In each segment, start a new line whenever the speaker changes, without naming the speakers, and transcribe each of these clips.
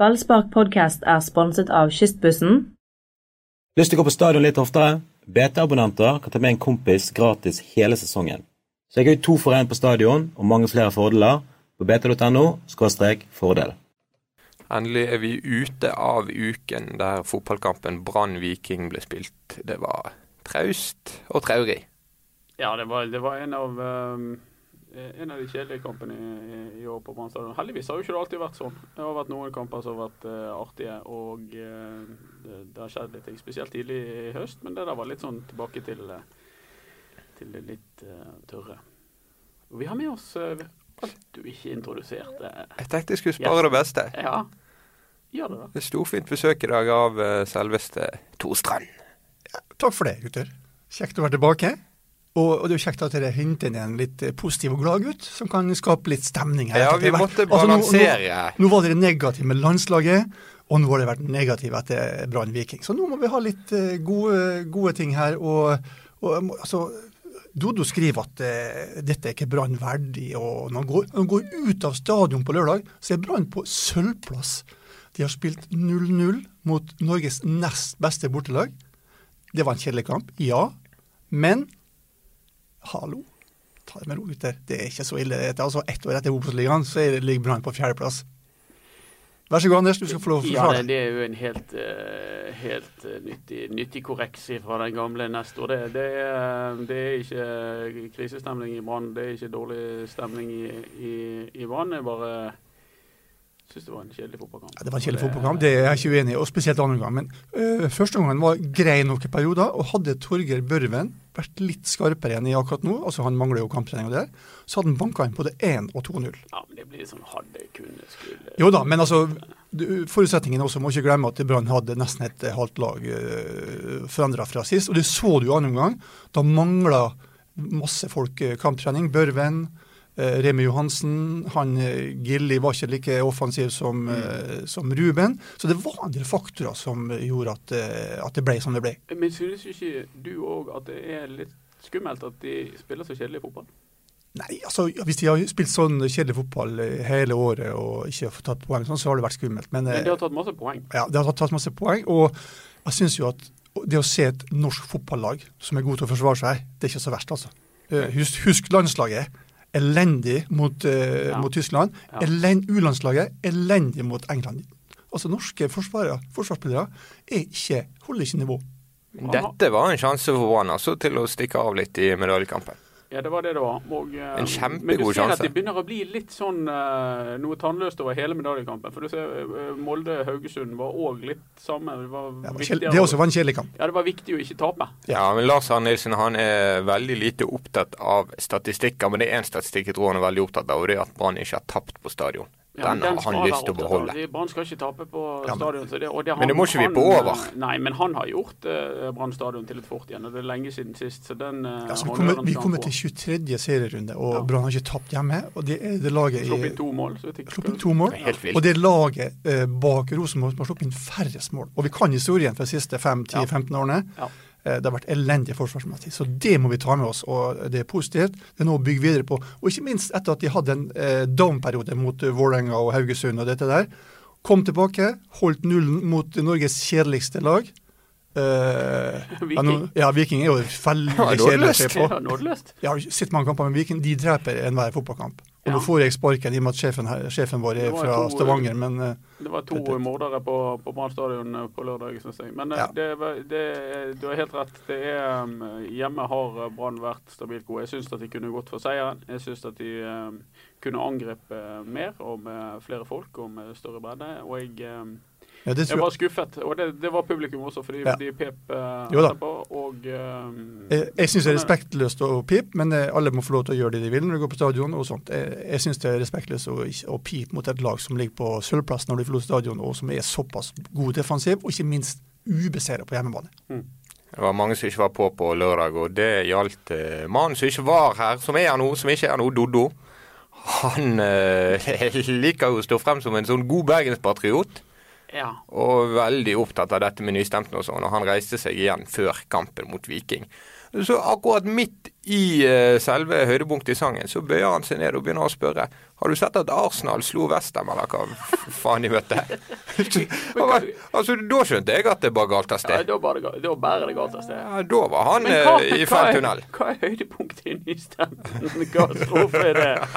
Ballspark podcast er sponset av Kystbussen.
Lyst til å gå på stadion litt oftere? BT-abonnenter kan ta med en kompis gratis hele sesongen. Så jeg har jo to for én på stadion, og mange flere fordeler på bt.no fordel.
Endelig er vi ute av uken der fotballkampen Brann-Viking ble spilt. Det var traust og traurig.
Ja, det var, det var en, av, ehm, en av de kjedelige kampene i, i år på Brann stadion. Heldigvis har jo ikke det alltid vært sånn. Det har vært noen kamper som har vært eh, artige, og eh, det, det har skjedd litt ting. Spesielt tidlig i høst, men det der var litt sånn tilbake til, eh, til det litt eh, tørre. Og vi har med oss eh, alt du ikke introduserte.
Jeg tenkte jeg skulle spare
Yes.
det beste.
Ja, gjør det, da.
Det er storfint besøk i dag av eh, selveste Torstrand.
Takk for det, gutter. Kjekt å være tilbake. Og, og det er jo kjekt at dere henter inn en litt eh, positiv og glad gutt, som kan skape litt stemning. her.
Ja,
Etter at
vi
det har
måtte
vært- Altså, nå-
balansere.
Nå, nå var dere negative med landslaget, og nå har dere vært negative etter Brann Viking. Så nå må vi ha litt eh, gode, gode ting her. Og, og jeg må- altså, Dodo skriver at eh, dette er ikke Brann verdig. Og når han, går, når han går ut av stadion på lørdag, så er Brann på sølvplass. De har spilt 0-0 mot Norges nest beste bortelag. Det var en kjedelig kamp, ja. Men hallo, ta det med ro, gutter. Det er ikke så ille. Det er altså ett år etter Obos-ligaen, så er- ligger Brann på fjerdeplass. Vær så god, Anders. Du skal få lov å
Ja, det,
forsvare deg.
det er jo en helt, eh, helt eh, nyttig, nyttig korreks fra den gamle nestor. Det, det, er, det er ikke eh, krisestemning i Brann, det er ikke dårlig stemning i, i, i Brann. Jeg bare syns det var en kjedelig fotballkamp.
Ja, det var en kjedelig fotballkamp, det er jeg ikke uenig i, og spesielt andre omgang. Men øh, første omgang var grei nok i perioder, og hadde Torgeir Børven vært litt skarpere enn i akkurat nå, altså han mangler jo kamptrening og det der, så hadde han banka inn både 1 og 2-0.
Ja, men det blir litt sånn hadde, kunne, skulle
Jo da, men altså du- forutsetningen også må ikke glemme at Brann hadde nesten et eh, halvt lag øh, forandra fra sist. Og det så du i andre omgang. Da mangla masse folk øh, kamptrening. Børven, øh, Remi Johansen, han øh, Gilli var ikke like offensiv som, øh, som Ruben. Så det var en del faktorer som gjorde at, øh, at det ble som det ble.
Men synes ikke du òg at det er litt skummelt at de spiller så kjedelig fotball?
Nei, altså ja, Hvis de har spilt sånn kjedelig fotball øh, hele året og ikke har fått tatt poeng, sånn, så har det vært skummelt. Men,
Men
øh,
de har tatt masse poeng.
Ja, det har tatt masse poeng. Og jeg syns jo at det å se et norsk fotballag som er god til å forsvare seg, det er ikke så verst, altså. Eh, Husk, husk landslaget. Elendig mot, eh,
Ja.
mot Tyskland.
Ja.
Elen, U-landslaget elendig mot England. Altså norske forsvarere, forsvarsspillere er ikke, holder ikke nivå.
Dette var en sjanse for Brann altså, til å stikke av litt i medaljekampen.
Ja, det var det det var. Og, eh,
En kjempegod
Men du ser
sjanse.
at det begynner å bli litt sånn eh, noe tannløst over hele medaljekampen. For du ser eh, Molde-Haugesund var òg litt samme. Det var,
Det, var kjel-
viktigere-
det også var en kjedelig kamp.
ja, det var viktig å ikke tape.
Ja, men Lars Arne Nilsen han er veldig lite opptatt av statistikker, men det er én statistikk jeg tror han er veldig opptatt av, og det er at Brann ikke har tapt på stadion.
Ja, men
Den har han
skal
lyst til
være
å
opptatt av.
beholde.
De- Brann skal ikke tape på
Ja, men-
stadion. Så det, og det har
Men det må ikke vi
han-
på over.
Nei, men han har gjort eh, Brann stadion til et fort igjen. Og det er lenge siden sist, så den eh,
Altså, vi
honnøren
kommer,
skal
vi
han
kommer
få.
til 23. serierunde, og
Ja.
Brann har ikke tapt hjemme. og Det er det laget
Sluppet
i,
inn to mål. Så vet jeg ikke-
sluppet inn to mål.
Det er helt vilt.
Og det er laget eh, bak Rosenborg som har sluppet inn færrest mål. Og vi kan historien fra de siste 5-10-15 årene.
Ja.
Eh, det har vært elendig forsvarsmessig. Så det må vi ta med oss, og det er positivt. Det er noe å bygge videre på. Og ikke minst etter at de hadde en eh, down-periode mot eh, Vålerenga og Haugesund og dette der. Kom tilbake, holdt nullen mot Norges kjedeligste lag. Eh, ja, nå- Ja, Viking er jo veldig
Ja,
kjedelig å se
nådeløst.
på.
Ja, nådeløst.
Jeg har sett mange kamper med Viking. De dreper enhver fotballkamp. Og
Ja.
nå får jeg sparken i og med at sjefen, her, sjefen vår
Det
er
var
fra
to-
Stavanger, men eh,
Det var to
Dette-
mordere på, på Brann stadion eh, på lørdag, syns jeg. Men eh,
Ja.
det, var- det, du har helt rett. Det er, um, hjemme har eh, Brann vært stabilt gode. Jeg syns at de kunne gått for seieren. Jeg syns at de um, kunne angrepe mer og med flere folk og med større bredde. Og jeg, um,
ja, det
jeg
tror jeg.
var skuffet. Og det, det var publikum også, fordi
Ja.
de pep eh,
Jo da. Eh.
etterpå. Og um,
Jeg, jeg syns det
sånn
er respektløst å pipe, men eh, alle må få lov til å gjøre det de vil når de går på stadion og sånt. Jeg, jeg syns det er respektløst å, ikke- å pipe mot et lag som ligger på sølvplass når de forlater stadion, og som er såpass god defensiv, og ikke minst ubeseira på hjemmebane.
Det var mange som ikke var på på lørdag, og det gjaldt eh, mannen som ikke var her, som er her nå, som ikke er her nå, Doddo. Han eh, liker jo å stå frem som en sånn god bergenspatriot,
Ja.
og veldig opptatt av dette med nystemtene og sånn, og han reiste seg igjen før kampen mot Viking. Så akkurat midt i eh, selve høydepunktet i sangen, så bøyer han seg ned og begynner å spørre Har du sett at Arsenal slo Westham, eller hva f- faen de møtte? Han var- altså, da skjønte jeg at det bare galt av
Ja,
sted.
da bærer det, ga- da bærer det galt altså. av sted.
Ja, da var han
Men hva,
eh, i
hva,
feil
er,
tunnel.
hva er høydepunktet i nystemten? Katastrofe? Er det,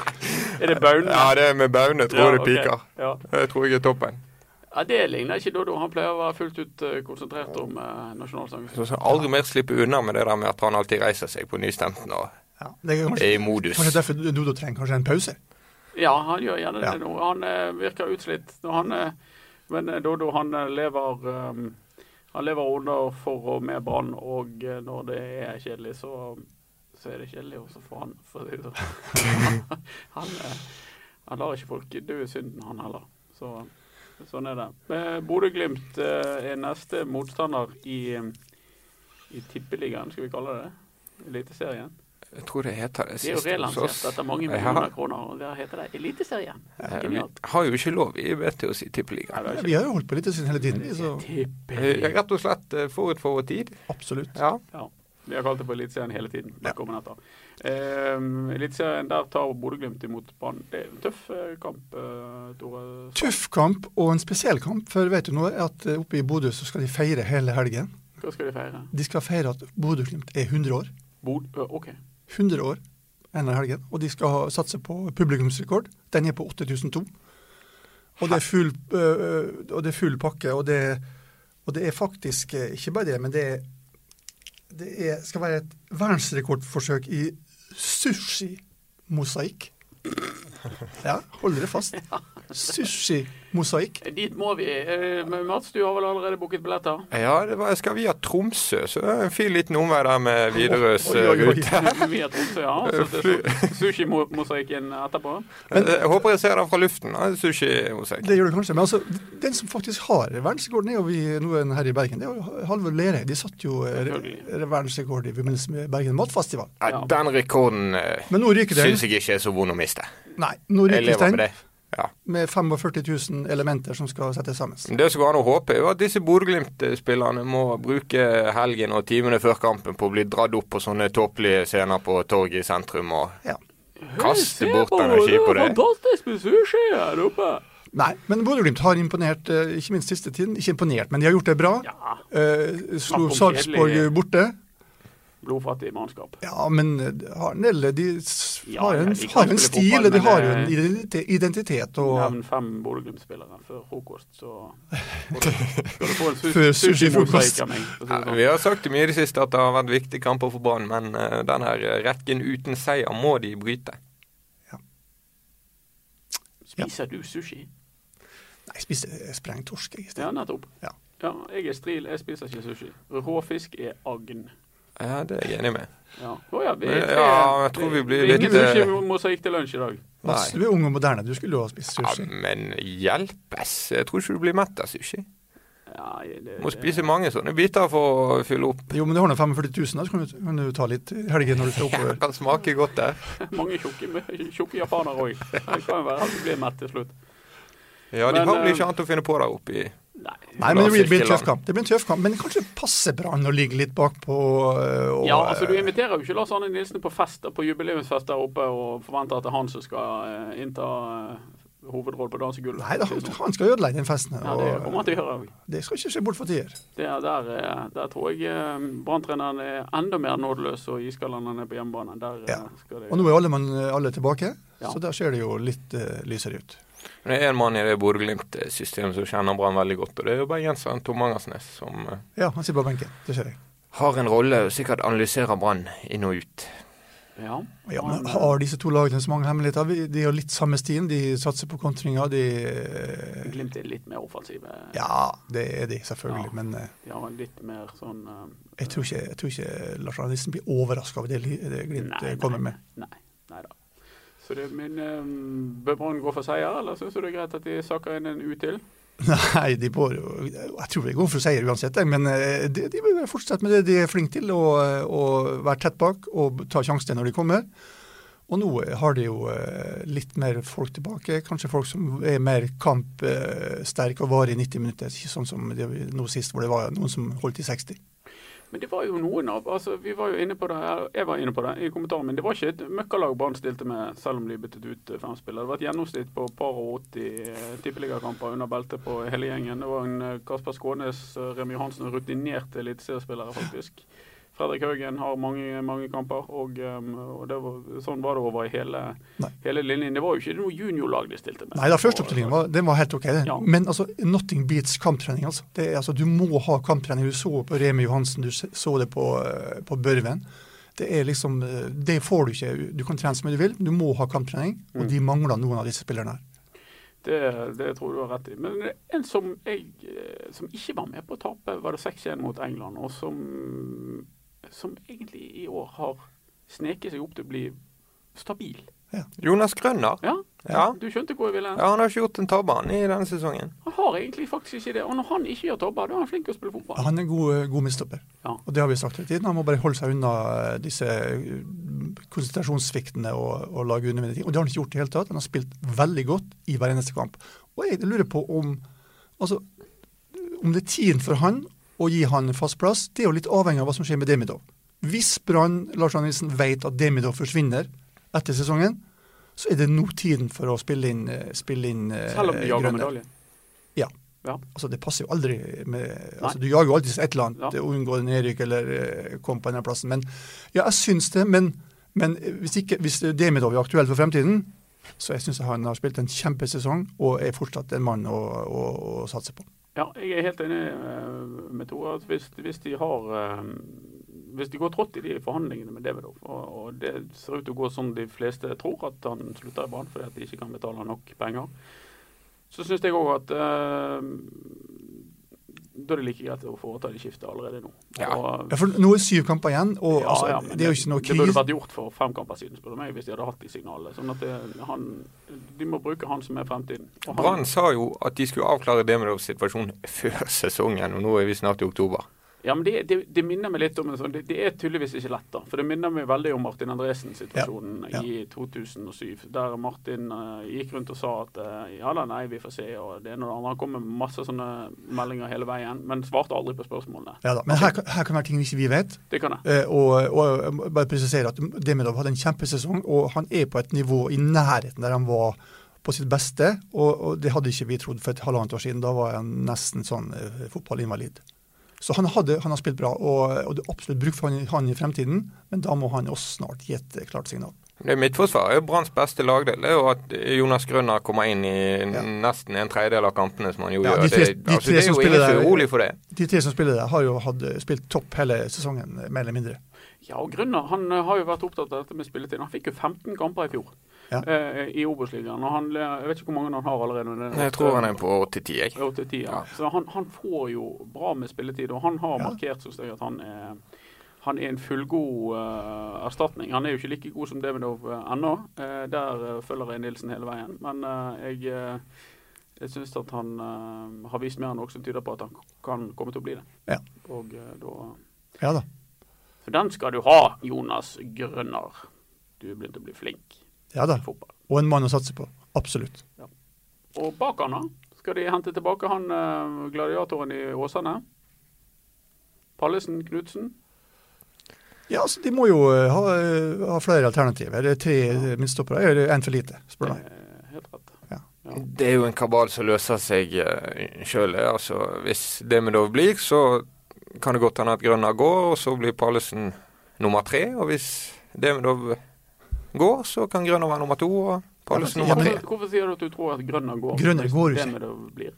er det baunene?
Ja, det er med baune, tror jeg det
ok.
piker.
Ja.
Det tror jeg er toppen.
ja, Det ligner ikke Dodo. Han pleier å være fullt ut eh, konsentrert om eh, nasjonalsangen.
Så, så aldri mer slippe unna med det der med at han alltid reiser seg på nystemten og
Ja, det er kanskje,
er i modus.
kanskje derfor Dodo trenger kanskje en pause.
Ja, han gjør gjerne det
Ja.
nå. Han eh, virker utslitt. Når han, eh, men eh, Dodo, han eh, lever eh, han lever under for og med Brann, og eh, når det er kjedelig, så, så er det kjedelig også for han. For det, er jo så. han, eh, han lar ikke folk dø i synden, han heller. Så, sånn er det. Eh, Bodø-Glimt eh, er neste motstander i, i Tippeligaen, skal vi kalle det. det? Eliteserien.
Jeg tror det heter det
Det er jo
siste hos oss.
relansert etter mange
Ja.
millioner kroner, og der heter det Eliteserien.
Eh, Vi
Genialt.
har jo ikke lov i BT å si tippeliga.
Vi har jo holdt på litt siden hele tiden, vi, så
Eh,
Tippeligaen.
Rett og slett eh, forut for vår tid.
absolutt.
Ja.
Ja. Vi har kalt det for Eliteserien hele tiden. Det kommer etter. Eh, Eliteserien, der tar Bodø-Glimt imot Brann. Det er en tøff eh, kamp, eh, Tore.
Tøff kamp og en spesiell kamp, for vet du nå at eh, oppe i Bodø så skal de feire hele helgen.
Hva skal de feire?
De skal feire at Bodø-Glimt er 100 år.
Bod eh, OK.
100 år en av helgen, og de skal ha- satse på publikumsrekord. Den er på 8002. Og det er full, øh, øh, og det er full pakke, og det, og det er faktisk eh, ikke bare det, men det, er, det er, skal være et verdensrekordforsøk i sushi-mosaikk. Ja, hold dere fast. Sushi-mosaikk.
Dit må vi. Eh, men Mats, du har vel allerede booket billetter?
Ja, det var, jeg skal via Tromsø, så det er en fin liten omvei der med Widerøes
Oi,
eh,
oi, oi.
rute.
Vi har Tromsø, ja. Så det er sushi-mosaikken etterpå.
Eh, Jeg håper jeg ser den fra luften. eh, Sushi hos deg.
Det gjør det kanskje, men altså, den som faktisk har verdensrekorden, er jo vi noen her i Bergen. Det er jo Halvor Lerøy. De satt jo eh,
Selvfølgelig.
verdensrekord i forbindelse med Bergen Matfestival.
Ja, Den rekorden eh,
Men nå ryker den.
syns jeg ikke er så vond å miste.
Nei, nå
Jeg
ryker
lever
den
med det. Ja.
med 45 000 elementer som skal settes sammen.
Men Det som går an å håpe, er jo at disse Bodø-Glimt-spillerne må bruke helgen og timene før kampen på å bli dratt opp på sånne tåpelige scener på torget i sentrum og
Ja.
kaste bort energi på det.
Fantastisk med sushi her oppe.
Nei, men Bodø-Glimt har imponert, eh, ikke minst siste tiden. Ikke imponert, men de har gjort det bra.
Ja.
Eh,
Snakk om
slo Sarpsborg
kjedelig-
borte.
Blodfattig mannskap.
Ja, men eh, har en del De s-
Ja,
har
ja,
en,
de kan
har
spille
en stil,
fotball,
og de
men,
har jo en
eh,
identitet- identitet. Og
Nevn fem Bodø-Glimt-spillere før frokost, så får du- skal du få en su-
Før
sushi-mosaikk
sushi-frokost.
av meg. for å si
Ja,
det sånn.
vi har sagt det mye i det siste at det har vært viktige kamper for Brann, men eh, den her rekken uten seier må de bryte.
Spiser du sushi?
Nei, jeg spiste eh, spreng torsk jeg, i sted.
Ja, nettopp.
Ja.
Ja, jeg er stril, jeg spiser ikke sushi. Råfisk er agn.
Ja, det er jeg enig med.
Ja. Å ja, vi er
Ja,
tre.
jeg tror vi blir
Det er
litt, eh,
Ingen sushi-mosaikk til lunsj i dag.
Mats,
Nei.
du er ung og moderne. Du skulle jo ha spist
Ja,
sushi.
men hjelpes! Jeg tror ikke du blir mett av sushi.
Ja, det, det,
Må spise mange sånne biter for å fylle opp.
Jo, men du har nå 45 000, da, så kan du, kan du ta litt i helgen når du skal
Ja,
oppover.
kan smake godt der.
mange tjukke, tjukke japanere òg. Det kan jo være at du blir mett til slutt.
Ja, de
Men,
har vel
eh,
ikke annet å finne på der oppe i
Nei.
Nei, men det blir, blir en
Sirkeland.
tøff kamp. Det blir en tøff kamp, men kanskje passer Brann å ligge litt bakpå. øh, Og,
Ja, altså Du inviterer jo ikke Lars Arne Nilsen på fest på jubileumsfest der oppe og forventer at det er han som skal eh, innta eh, hovedrollen på dansegulvet.
Nei, da, han, han skal ødelegge den festen.
Ja, det kommer
Og
han til å gjøre òg.
det skal ikke skje bort for tider.
Der, eh, der tror jeg eh, Brann-treneren er enda mer nådeløs og iskald enn han er på hjemmebane. Der eh,
Ja.
skal
Og
det
nå er alle, mann, alle tilbake,
Ja.
så der ser det jo litt eh, lysere ut.
Men Det er en mann i det Bodø-Glimt-systemet som kjenner Brann veldig godt, og det er jo bergenseren Tom Angersnes som eh,
Ja, han sitter på benken. Det ser jeg.
har en rolle og sikkert analyserer Brann inn og ut.
ja. eh,
Ja, men Har disse to lagene så mange hemmeligheter? Vi- De har litt samme stien. De satser på kontringer. De eh,
Glimt er litt mer offensive.
Ja, det er de, selvfølgelig.
Ja.
Men eh,
De har litt mer sånn eh,
jeg tror ikke, jeg tror ikke Lars Arne Nilsen blir overraska over det li- det Glimt eh, kommer med.
Nei, nei da. Så det, men eh, bør Brann gå for seier, eller syns du det er greit at de sakker inn en U til?
Nei, de bør jo Jeg tror det går for seier uansett, jeg, men eh, de, de bør fortsette med det de er flinke til. Og, eh, og være tett bak og ta sjansene når de kommer. Og nå har de jo eh, litt mer folk tilbake. Kanskje folk som er mer eh, kampsterke og varer i 90 minutter. Ikke sånn som det vi- nå sist, hvor det var noen som holdt i 60.
Men det var jo noen av altså Vi var jo inne på det, eller jeg var inne på det i kommentaren min. Det var ikke et møkkalag Brann stilte med, selv om de byttet ut eh, fem spillere. Det var et gjennomsnitt på par og 80 eh, tippeligakamper under beltet på hele gjengen. Det var en eh, Kasper Skånes, eh, Remi Johansen, rutinerte eliteseriespillere, faktisk. Fredrik Haugen har mange, mange kamper, og, eh, og det var, sånn var det over i hele,
Nei.
hele linjen. Det var jo ikke noe juniorlag de stilte med. eh,
Nei da, førsteoppstillingen var, den var helt OK. Den.
Ja.
Men altså, nothing beats kamptrening. Altså. Det er, altså, du må ha kamptrening. Du så på Remi Johansen, du så det på, eh, på Børven. Det er liksom, eh, det får du ikke. Du kan trene så mye du vil, men du må ha kamptrening. Og de mangler noen av disse spillerne her.
Det, det tror jeg du har rett i. Men en som, jeg, eh, som ikke var med på å tape, var det 6-1 mot England, og som, som egentlig i år har sneket seg opp til å bli stabil.
Jonas Grønner.
Ja,
Ja.
du skjønte hvor jeg ville hen?
Ja, Han har ikke gjort en tabbe han, i denne sesongen.
Han har egentlig faktisk ikke det. Og når han ikke gjør tabber, da er han flink til å spille fotball.
Han er en god, eh, god midtstopper.
Ja.
Og det har vi sagt hele tiden. Han må bare holde seg unna eh, disse eh, konsentrasjonssviktene og, og lage unødvendige ting. Og det har han ikke gjort i det hele tatt. Han har spilt veldig godt i hver eneste kamp. Og jeg lurer på om altså, om det er tiden for han å gi han en fast plass, det er jo litt avhengig av hva som skjer med Demidov. Hvis Brann Lars Arne Nilsen vet at Demidov forsvinner etter sesongen, så er det nå tiden for å spille inn, eh, spille inn eh,
Selv om de jager
Grønner.
medalje.
Ja.
Ja.
Altså, det passer jo aldri med altså, Du jager jo alltid et eller annet,
Ja.
unngå nedrykk eller eh, komme på andreplassen. Men ja, jeg syns det. Men, men eh, hvis, ikke, hvis Demidov er aktuell for fremtiden, så jeg syns han har spilt en kjempesesong og er fortsatt en mann å, å, å satse på.
Ja, jeg er helt enig eh, med Tore. at Hvis, hvis de har eh, Hvis de går trått i de forhandlingene med Davidov, og, og det ser ut til å gå som de fleste tror, at han slutter i Brann fordi at de ikke kan betale nok penger, så syns jeg òg at eh, da er det like greit å foreta de skiftet allerede nå.
Ja.
Og-
Ja, for nå er syv kamper igjen, og altså,
ja, men
det er jo ikke noe
Det burde
krise.
vært gjort for fem kamper siden, spør du meg, hvis de hadde hatt de signalene. Sånn at det, han, de må bruke han som er fremtiden. Og han-
Brann sa jo at de skulle avklare Demidovs situasjon før sesongen, og nå er vi snart i oktober.
Ja, men det, det, det minner meg litt om en sånn det, det er tydeligvis ikke lett, da. For det minner meg veldig om Martin Andresen-situasjonen
Ja, ja.
i 2007. Der Martin eh, gikk rundt og sa at eh, ja da, nei, vi får se, og det ene og det andre. Han kom med masse sånne meldinger hele veien, men svarte aldri på spørsmålene.
Ja da, men her, kan- her kan være ting vi ikke vi vet.
Det kan jeg.
Eh, Og, og jeg må bare presisere at Demidov hadde en kjempesesong, og han er på et nivå i nærheten der han var på sitt beste. Og, og det hadde ikke vi trodd for et halvannet år siden. Da var han nesten sånn eh, fotballinvalid. Så han, hadde, han har spilt bra, og, og det er absolutt bruk for han, i- han i fremtiden. Men da må han også snart gi et eh, klart signal.
Det Midtforsvaret er jo Branns beste lagdel. Det er jo at Jonas Grønner kommer inn i nesten en tredjedel av kampene som han jo
Ja,
gjør.
de tre-
det,
de
altså,
tre
det er
som
jo
spiller
ingen som er
der-
urolig for det.
De tre som spiller der, har jo hatt, spilt topp hele sesongen, eh, mer eller mindre.
Ja, og Grunner han eh, har jo vært opptatt av dette med spilletid. Han fikk jo 15 kamper i fjor
Ja.
eh, i Obos-ligaen. og han, eh, Jeg vet ikke hvor mange han har allerede. men det er
Jeg tror han er på 8-10, jeg.
Ja, til ti, ja. Så han, han får jo bra med spilletid, og han har
Ja.
markert synes jeg, at han er, han er en fullgod eh, erstatning. Han er jo ikke like god som Demidov eh, ennå. Eh, der eh, følger jeg Nilsen hele veien. Men eh, jeg, uh, jeg syns at han eh, har vist mer enn noe som tyder på at han kan komme til å bli det.
Ja.
Og eh, da
Ja da.
For den skal du ha, Jonas Grønner. Du er begynt å bli flink
Ja da.
i fotball.
Og en mann å satse på. Absolutt.
Og bak han, da? Skal de hente tilbake han eh, gladiatoren i Åsane? Pallesen Knutsen?
Ja, altså, De må jo eh, ha, eh, ha flere alternativer. Det er Tre eh, midtstoppere er det en for lite, spør du meg.
Eh, Helt rett.
Det er jo en kabal som løser seg sjøl. Altså, hvis Demidov blir, så kan det godt hende at Grønner går, og så blir Pallesen nummer tre. Og hvis Demidov går, så kan Grønner være nummer to, og Pallesen
Ja,
nummer
men-
tre.
Hvorfor, hvorfor sier du at du tror at Grønner går?
Grønner går jo
Det
ikke.
med det blir.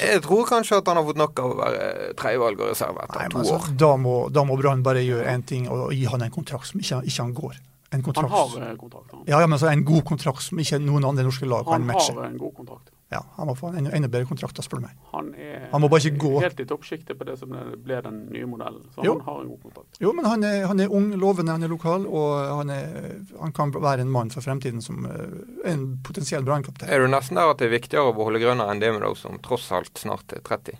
Jeg tror kanskje at han har fått nok av å være tredjevalg og reserve
Nei,
etter
men
to
altså,
år.
da må, da må Brann bare gjøre én ting og gi han en kontrakt som ikke, ikke han går.
Han
En kontrakt.
har eh, kontrakt. Han,
ja, ja, men altså en god kontrakt som ikke noen andre norske lag kan
han
matche.
har en god kontrakt.
Ja, han må få en enda, enda bedre kontrakt, da, spør du meg.
Han er
Han må bare ikke gå.
helt i toppsjiktet på det som ble den nye modellen. Så
Jo.
han har en god kontrakt.
Jo, men han er, han er ung, lovende, han er lokal, og han, er, han kan være en mann for fremtiden som eh, en potensiell brannkaptein.
Er du nesten der at det er viktigere å beholde Grønner enn Demidov, som tross alt snart er 30?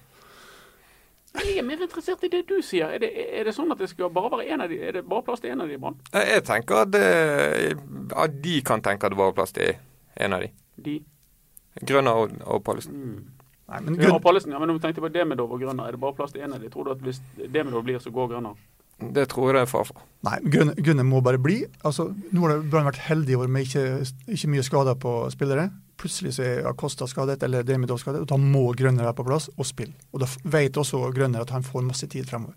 Men Jeg er mer interessert i det du sier. Er det, er det sånn at det skal bare være en av de, er det bare plass til én av de i Brann?
Jeg jeg tenker at, eh, at de kan tenke at det bare er plass til en av de.
De?
Grønner og, og Pallesen.
Mm.
Nei, men
Ja,
Gun-
Pallesen, ja, men nå tenkte jeg på Demidov og Grønner. Er det bare plass til én av de? Tror du at hvis Demidov blir, så går Grønner?
Det tror jeg det er far for.
Nei, Gunne, Gunne må bare bli. Altså, nå har det- Brann vært heldig i år med ikke, ikke mye skader på spillere. Plutselig så er Acosta skadet, eller Demidov skadet, og da må Grønner være på plass og spille. Og da f- vet også Grønner at han får masse tid fremover.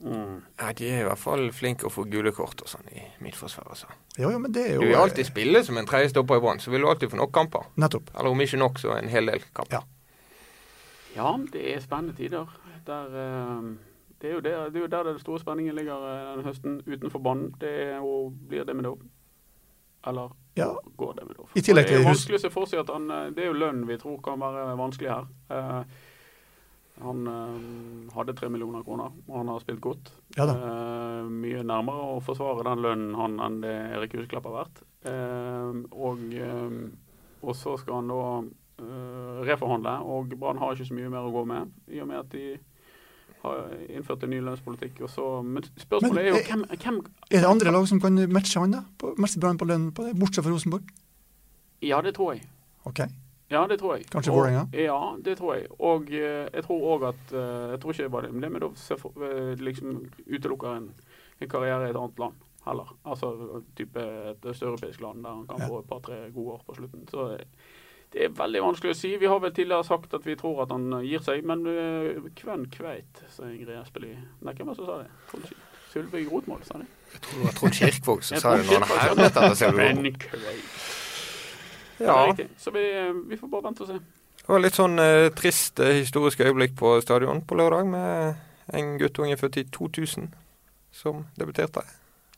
Mm.
Ja, de er i hvert fall flinke å få gule kort og sånn i midtforsvaret. Altså.
Ja, ja, men det er jo eh,
Du vil alltid spille som en tredje stopper i Brann, så vil du alltid få nok kamper.
Nettopp.
Eller om ikke nok, så en hel del kamper.
Ja.
Ja, det er spennende tider. Der, eh, det, er jo der, det er jo der den store spenningen ligger eh, denne høsten, utenfor banen. Det er jo blir Demidov. Eller
Ja.
går Demidov.
I tillegg
Og det er
til
jo
hus-
vanskelig å se for seg at han eh, Det er jo lønnen vi tror kan være vanskelig her. Eh, han eh, hadde tre millioner kroner, og han har spilt godt.
Ja da.
Eh, mye nærmere å forsvare den lønnen han enn det Erik Husklepp har vært. Eh, og, eh, og så skal han da eh, reforhandle, og Brann har ikke så mye mer å gå med, i og med at de har innført en ny lønnspolitikk. Og så, men spørsmålet
Men,
er jo
eh,
hvem, hvem
Er det andre lag som kan matche han, da? På, matche Brann på lønnen, på det, bortsett fra Rosenborg?
Ja, det tror jeg.
Ok.
Ja, det tror jeg.
Kanskje
Og-
Vålerenga?
Ja, det tror jeg. Og eh, jeg tror òg at eh, Jeg tror ikke det var det, men det med å se for, eh, liksom utelukker en, en karriere i et annet land heller. Altså type et østeuropeisk land der han kan
Ja.
få et par-tre gode år på slutten. Så eh, det er veldig vanskelig å si. Vi har vel tidligere sagt at vi tror at han gir seg, men eh, hvem kveit, sa Ingrid Espelid. Nei, hvem var det som sa det? Trond Sil- Sylvi Grotmål, sa de.
Det var Trond Kirkvåg som
Jeg
sa
tror
det når han
Kirkvåg sa det.
hermet etter Selvåg.
Hvem kveit. Ja.
Ja.
riktig. Så vi, eh, vi får bare vente og se.
Det var litt sånn eh, trist eh, historisk øyeblikk på stadion på lørdag med en guttunge født i 2000 som debuterte.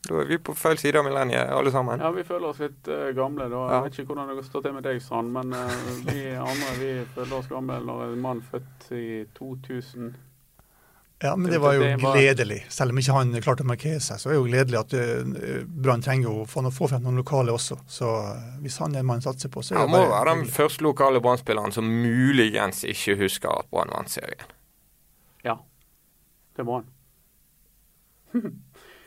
Da er vi på feil side av millenniet, alle sammen.
Ja, vi føler oss litt eh, gamle da.
Ja.
Jeg vet ikke hvordan det står til med deg, Strand, men eh, vi andre vi føler oss gamle når en mann født i 2000
Ja, men
Det
det var jo
betyr bare-
gledelig. Selv om ikke han klarte å markere seg, så er det jo gledelig at eh, Brann trenger jo å få få frem noen lokale også. Så eh, hvis han er en mann satser på, så er
Han
det
må
bare
være den
hyggelig.
første lokale Brann-spilleren som muligens ikke husker at Brann vant serien.
Ja, det må han.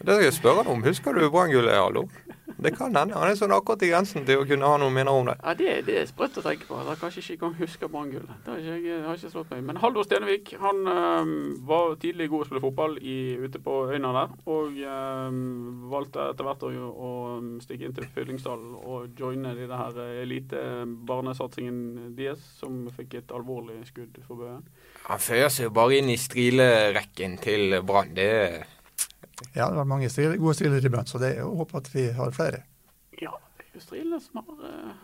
Det skal jeg spørre han om. Husker du Brann-gullet, Hallo? Det kan hende. Han er sånn akkurat i grensen til å kunne ha noen minner om det.
Ja, Det, det er sprøtt å tenke på. at Jeg kanskje ikke engang husker Branngullet. Det har ikke, jeg- det har ikke slått meg. Men Haldor Stenevik han eh, var tidlig god til å spille fotball i, ute på øyene der. Og eh, valgte etter hvert å, å eh, stikke inn til Fyllingsdalen og joine de der eh, elite-barnesatsingen deres, som fikk et alvorlig skudd for bøyen.
Han føyer seg jo bare inn i strilerekken til Brann. Det er
Ja, det var mange stril, gode strillere i Brann, så det er jo å håpe at vi har flere.
Ja, det er jo Strille som har eh,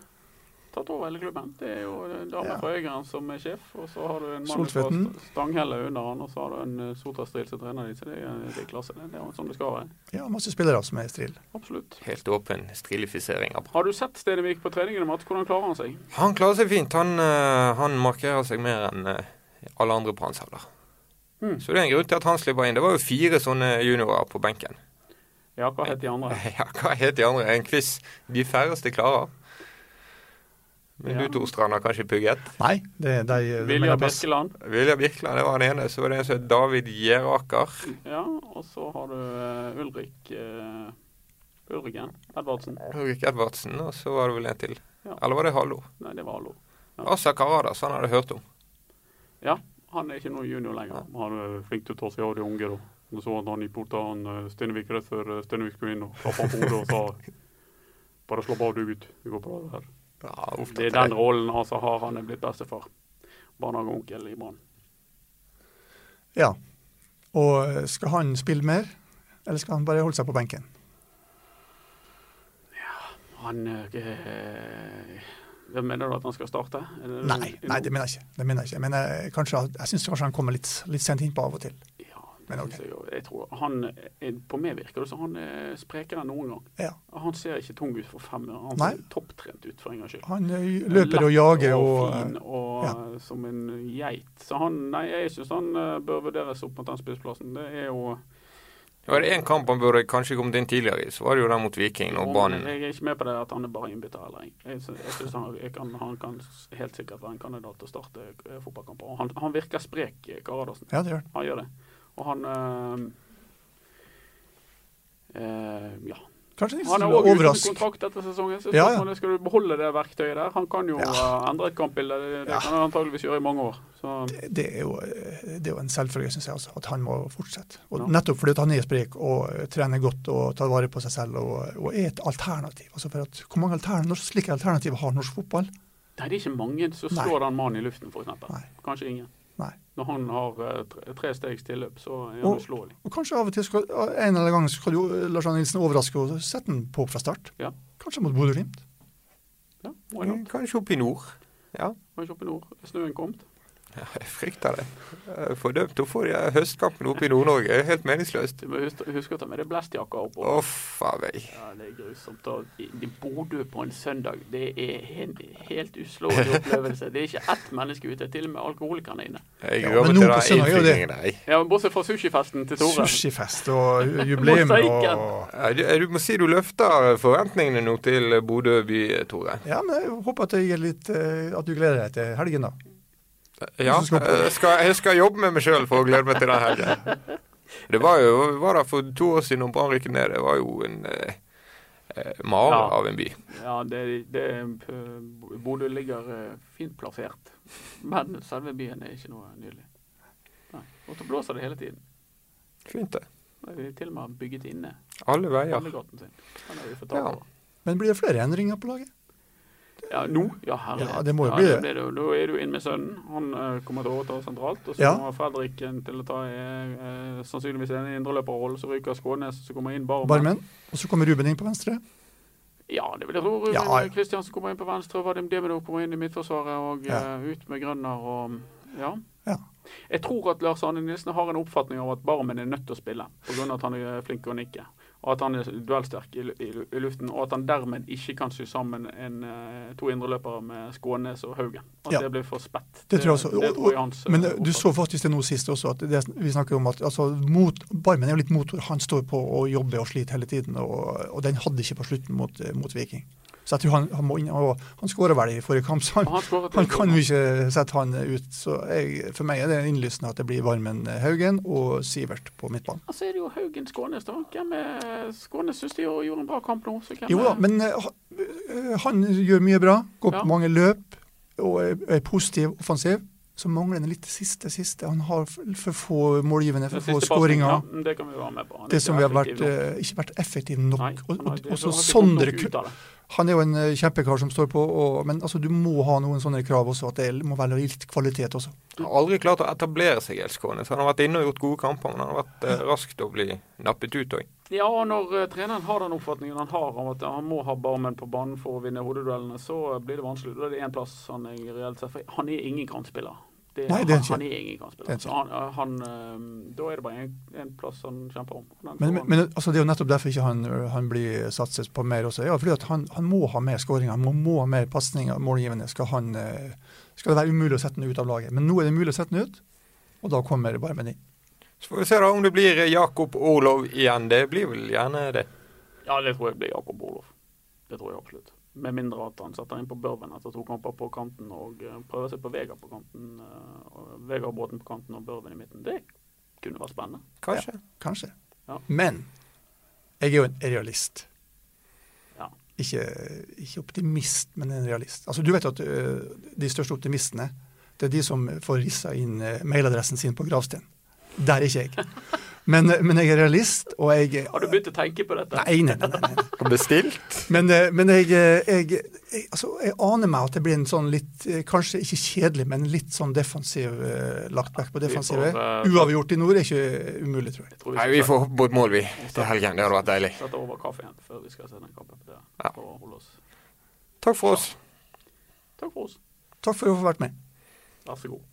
tatt over hele klubben. Det er jo en dame
Ja.
fra Øygarden som er sjef, og så har du en mann fra
Soltvedten.
St- Stanghelle under han, og så har du en eh, Sotra Stril som trener de, så det er, eh, det er klasse. Det Det er jo sånn det skal være.
Ja, masse spillere som er strill.
Absolutt.
helt åpen strilifisering av Brann.
Har du sett Stenevik på treningene, Mats? Hvordan klarer han seg?
Han klarer seg fint. Han, eh, han markerer seg mer enn eh, alle andre Brann-selger.
Mm.
Så det er en grunn til at han slipper inn. Det var jo fire sånne juniorer på benken.
Ja, hva heter de andre?
Ja, hva het de andre? En quiz de færreste klarer. Men
Ja.
du, Torstrand, har kanskje pugget.
Nei, det er de de
Vilja
mener pass.
Birkeland.
Vilja Birkeland, det var den ene. Så var det en som het David Gjeraker.
Ja, og så har du eh, Ulrik eh, Ulriken Edvardsen.
Ulrik Edvardsen, og så var det vel en til.
Ja.
Eller var det Hallo?
Nei, det var Hallo. Ja.
Asa Karadas, han hadde jeg hørt om.
Ja, han er ikke noen junior lenger. Han er flink til å ta seg av de unge, da. Og så hadde han i porta han eh, Stenevik rett før eh, Stenevik skulle inn og klappa på hodet og sa Bare slapp av, du gutt. Det går bra, det her.
Ja, uff,
Det er den rollen han som har. Han er blitt bestefar. Barnehageonkel i Brann.
Ja. Og eh, skal han spille mer, eller skal han bare holde seg på benken?
Han eh, Hvem mener du at han skal starte? Er det-
Nei, nei, det mener jeg ikke. Det mener jeg ikke. Men jeg, kanskje, at- jeg syns kanskje han kommer litt, litt sent innpå av og til.
Ja, det
Men ok.
synes jeg, jo. jeg tror han, eh, På meg virker det som han er sprekere enn noen gang.
Ja.
Han ser ikke tung ut for fem år. Han
Nei.
ser topptrent ut, for en gangs skyld.
Han eh, løper og
Lett
jager
og
og
fin og eh, som en geit. Så han, nei, jeg syns han eh, bør vurderes opp mot den spissplassen. Det er jo
Var det én kamp han burde kanskje kommet inn tidligere i, så var det jo den mot Viking og
Og
Brann.
Jeg er ikke med på det at han er bare innbytter heller. jeg. Jeg syns, jeg syns han, jeg kan, han kan s- helt sikkert være en kandidat til å starte eh, fotballkamper. Og han, han virker sprek, eh, Karadasen.
Ja, det gjør han.
Han gjør det. Og han eh, eh, Ja.
Kanskje de
Han er
skulle
òg uten
overraske.
kontrakt etter sesongen. Så
Ja, ja.
spørsmålet er, skal du beholde det verktøyet der? Han kan jo
Ja.
eh, endre et kampbilde. Det, det
Ja.
kan han antageligvis gjøre i mange år. Så
det er jo, eh, det er jo en selvfølge, syns jeg, altså, at han må fortsette. Og
Ja.
nettopp fordi at han er sprek og eh, trener godt og tar vare på seg selv og, og er et alternativ. Altså for at, hvor mange altern, norsk- slike alternativer har norsk fotball?
Nei, det er ikke mange som
Nei.
slår den mannen i luften, f.eks.
Nei.
Kanskje ingen.
Nei.
Når han har eh, tre- tre stegs tilløp, så er han
Og-
uslåelig.
Og kanskje av og til skal, en eller annen gang skal jo eh, Lars Arne Nilsen overraske og sette den på fra start.
Ja.
Kanskje mot Bodø-Glimt.
Ja, why
Mm.
not?
Mm, Kanskje opp i nord. Ja,
Var ikke oppe i nord. Er Snøen kommet.
jeg frykter det. Jeg er Fordømt å få de her høstkampene oppe i Nord-Norge. Det er Helt meningsløst.
Du må huske huske å ta med deg blestjakka oppå.
Å, faen meg.
Ja, det er grusomt. Og i i Bodø på en søndag, det er en helt uslåelig opplevelse. Det er ikke ett menneske ute, til og med alkoholikerne er inne.
Jeg
Ja,
gruer meg
men
til
nå på
den
søndag er jo det.
innflygningen der.
Ja, men Bortsett fra sushifesten til Tore.
Sushifest og jubileum og
Mosaikken.
Ja, Du, du må si du løfter forventningene nå til Bodø by, Tore.
Ja, men jeg håper at, det gir litt, eh, at du gleder deg til helgen, da.
Ja,
Hvis du skal på-
jeg skal, jeg skal jobbe med meg sjøl for å glede meg til den helgen. Det var jo var der for to år siden om Brann rykket ned. Det var jo en eh, eh, mare
Ja.
av en by.
Ja, det, det er, eh, Bodø ligger eh, fint plassert. Men selve byen er ikke noe nydelig. Nei. Og så blåser det hele tiden.
Fint, det.
Nei, De er til og med bygget inne
Alle veier.
Halligaten sin. Den har vi fått tak
Ja.
over.
Men blir det flere endringer på laget?
Ja, nå? Ja, herlighet.
Ja, det må jo bli det.
blir jo. Da er du inn med sønnen. Han eh, kommer til å overta sentralt. Og så
Ja.
kommer Fredriken til å ta eh, eh, sannsynligvis en indreløperrolle. Så ryker Skånes, så kommer inn Barmen.
Barmen. Og så kommer Ruben inn på venstre.
Ja, det vil jeg tro. Ruben
Ja, ja.
Kristiansen kommer inn på venstre. Vadim Demidov kommer inn i midtforsvaret og
Ja.
eh, ut med Grønner og ja.
Ja.
Jeg tror at Lars Arne Nilsen har en oppfatning av at Barmen er nødt til å spille pga. at han er flink til å nikke. Og at han er duellsterk i, lu- i, lu- i luften, og at han dermed ikke kan sy sammen en, eh, to indreløpere med Skånes og Haugen. At
Ja.
det blir for spett.
Det tror jeg også.
det tror jeg hans, eh,
Men eh, du
oppfatning.
så faktisk det nå sist også, at det, vi snakker om at altså, mot, Barmen er jo litt motor. Han står på og jobber og sliter hele tiden, og, og den hadde ikke på slutten mot, eh, mot Viking. Så jeg tror han, han må inn og Han skåra vel i forrige kamp, så
Og
han,
han skåret
han kan jo ikke sette han ut. Så jeg, for meg er det innlysende at det blir Barmen eh, Haugen og Sivert på midtbanen.
Og så er det jo Haugen Skånes, da. Hvem er Skånes syns de jo gjorde en bra kamp nå. Så hvem
Jo da,
er-
men eh, ha- eh, han gjør mye bra. Går
Ja.
på mange løp og er- er positiv offensiv. Så mangler han litt det siste, siste. Han har f- for få målgivende,
Den
for få
siste
skåringer.
pasningen, ja, det kan vi være med på. Han er
Det
ikke
som vi har vært,
effektiv nok.
eh, ikke vært effektiv nok.
Nei,
og,
han har-
og,
det- han har ikke
og så
fått
Sondre
nok
Ku-
ut av det.
Han er jo en eh, kjempekar som står på, og, men altså, du må ha noen sånne krav også, at det må være litt kvalitet også.
Han har aldri klart å etablere seg i LSK. Så han har vært inne og gjort gode kamper, men han har vært eh, rask til å bli nappet ut òg.
Ja, og når eh, treneren har den oppfatningen han har om at han må ha Barmen på banen for å vinne hodeduellene, så eh, blir det vanskelig. Da er det én plass han er reelt sett For han er ingen kantspiller. Det,
Nei, det er
han,
ikke.
han er ingen
Det er
kantspiller.
ikke.
Så han, eh, han, eh, da er det bare én plass han kjemper om. Den får
Men, men,
han.
men altså, det er jo nettopp derfor ikke han, han blir satset på mer også. Ja, fordi at han, han må ha mer skåringer, han må, må ha mer pasninger målgivende. Skal, han, eh, skal det være umulig å sette den ut av laget. Men nå er det mulig å sette den ut, og da kommer Barmen inn.
Så får vi se da om det blir eh, Jakob Orlov igjen. Det blir vel gjerne det.
Ja, det tror jeg blir Jakob Olof. Det tror jeg absolutt. Med mindre at han setter inn på Børven etter to kamper på kanten og eh, prøver seg på Vegard på kanten. eh, og Vegard Bråten på kanten og Børven i midten. Det kunne vært spennende.
Kanskje.
Kanskje.
Ja.
Men jeg er jo en realist.
Ja.
Ikke, ikke optimist, men en realist. Altså, du vet at ø, de største optimistene, det er de som får rissa inn ø, mailadressen sin på gravsteinen. Der er ikke jeg. Men, ø, men jeg er realist, og jeg
Har du begynt å tenke på dette?
Nei, nei, nei. nei, nei.
Bestilt.
Men, eh, men jeg, eh, jeg, jeg, altså, jeg aner meg at det blir en sånn litt, eh, kanskje ikke kjedelig, men litt sånn defensiv eh, lagt vekk på
Vi får,
defensivet.
eh,
Uavgjort i nord er ikke umulig, tror jeg.
Jeg tror
Nei,
skal
vi får hoppe på et mål, vi. Til helgen. Det hadde vært deilig.
sette over kaffen før vi skal se den kampen. Det,
Ja.
for å holde oss.
Takk for oss.
Takk for oss.
Takk for å få vært med.
Vær så god.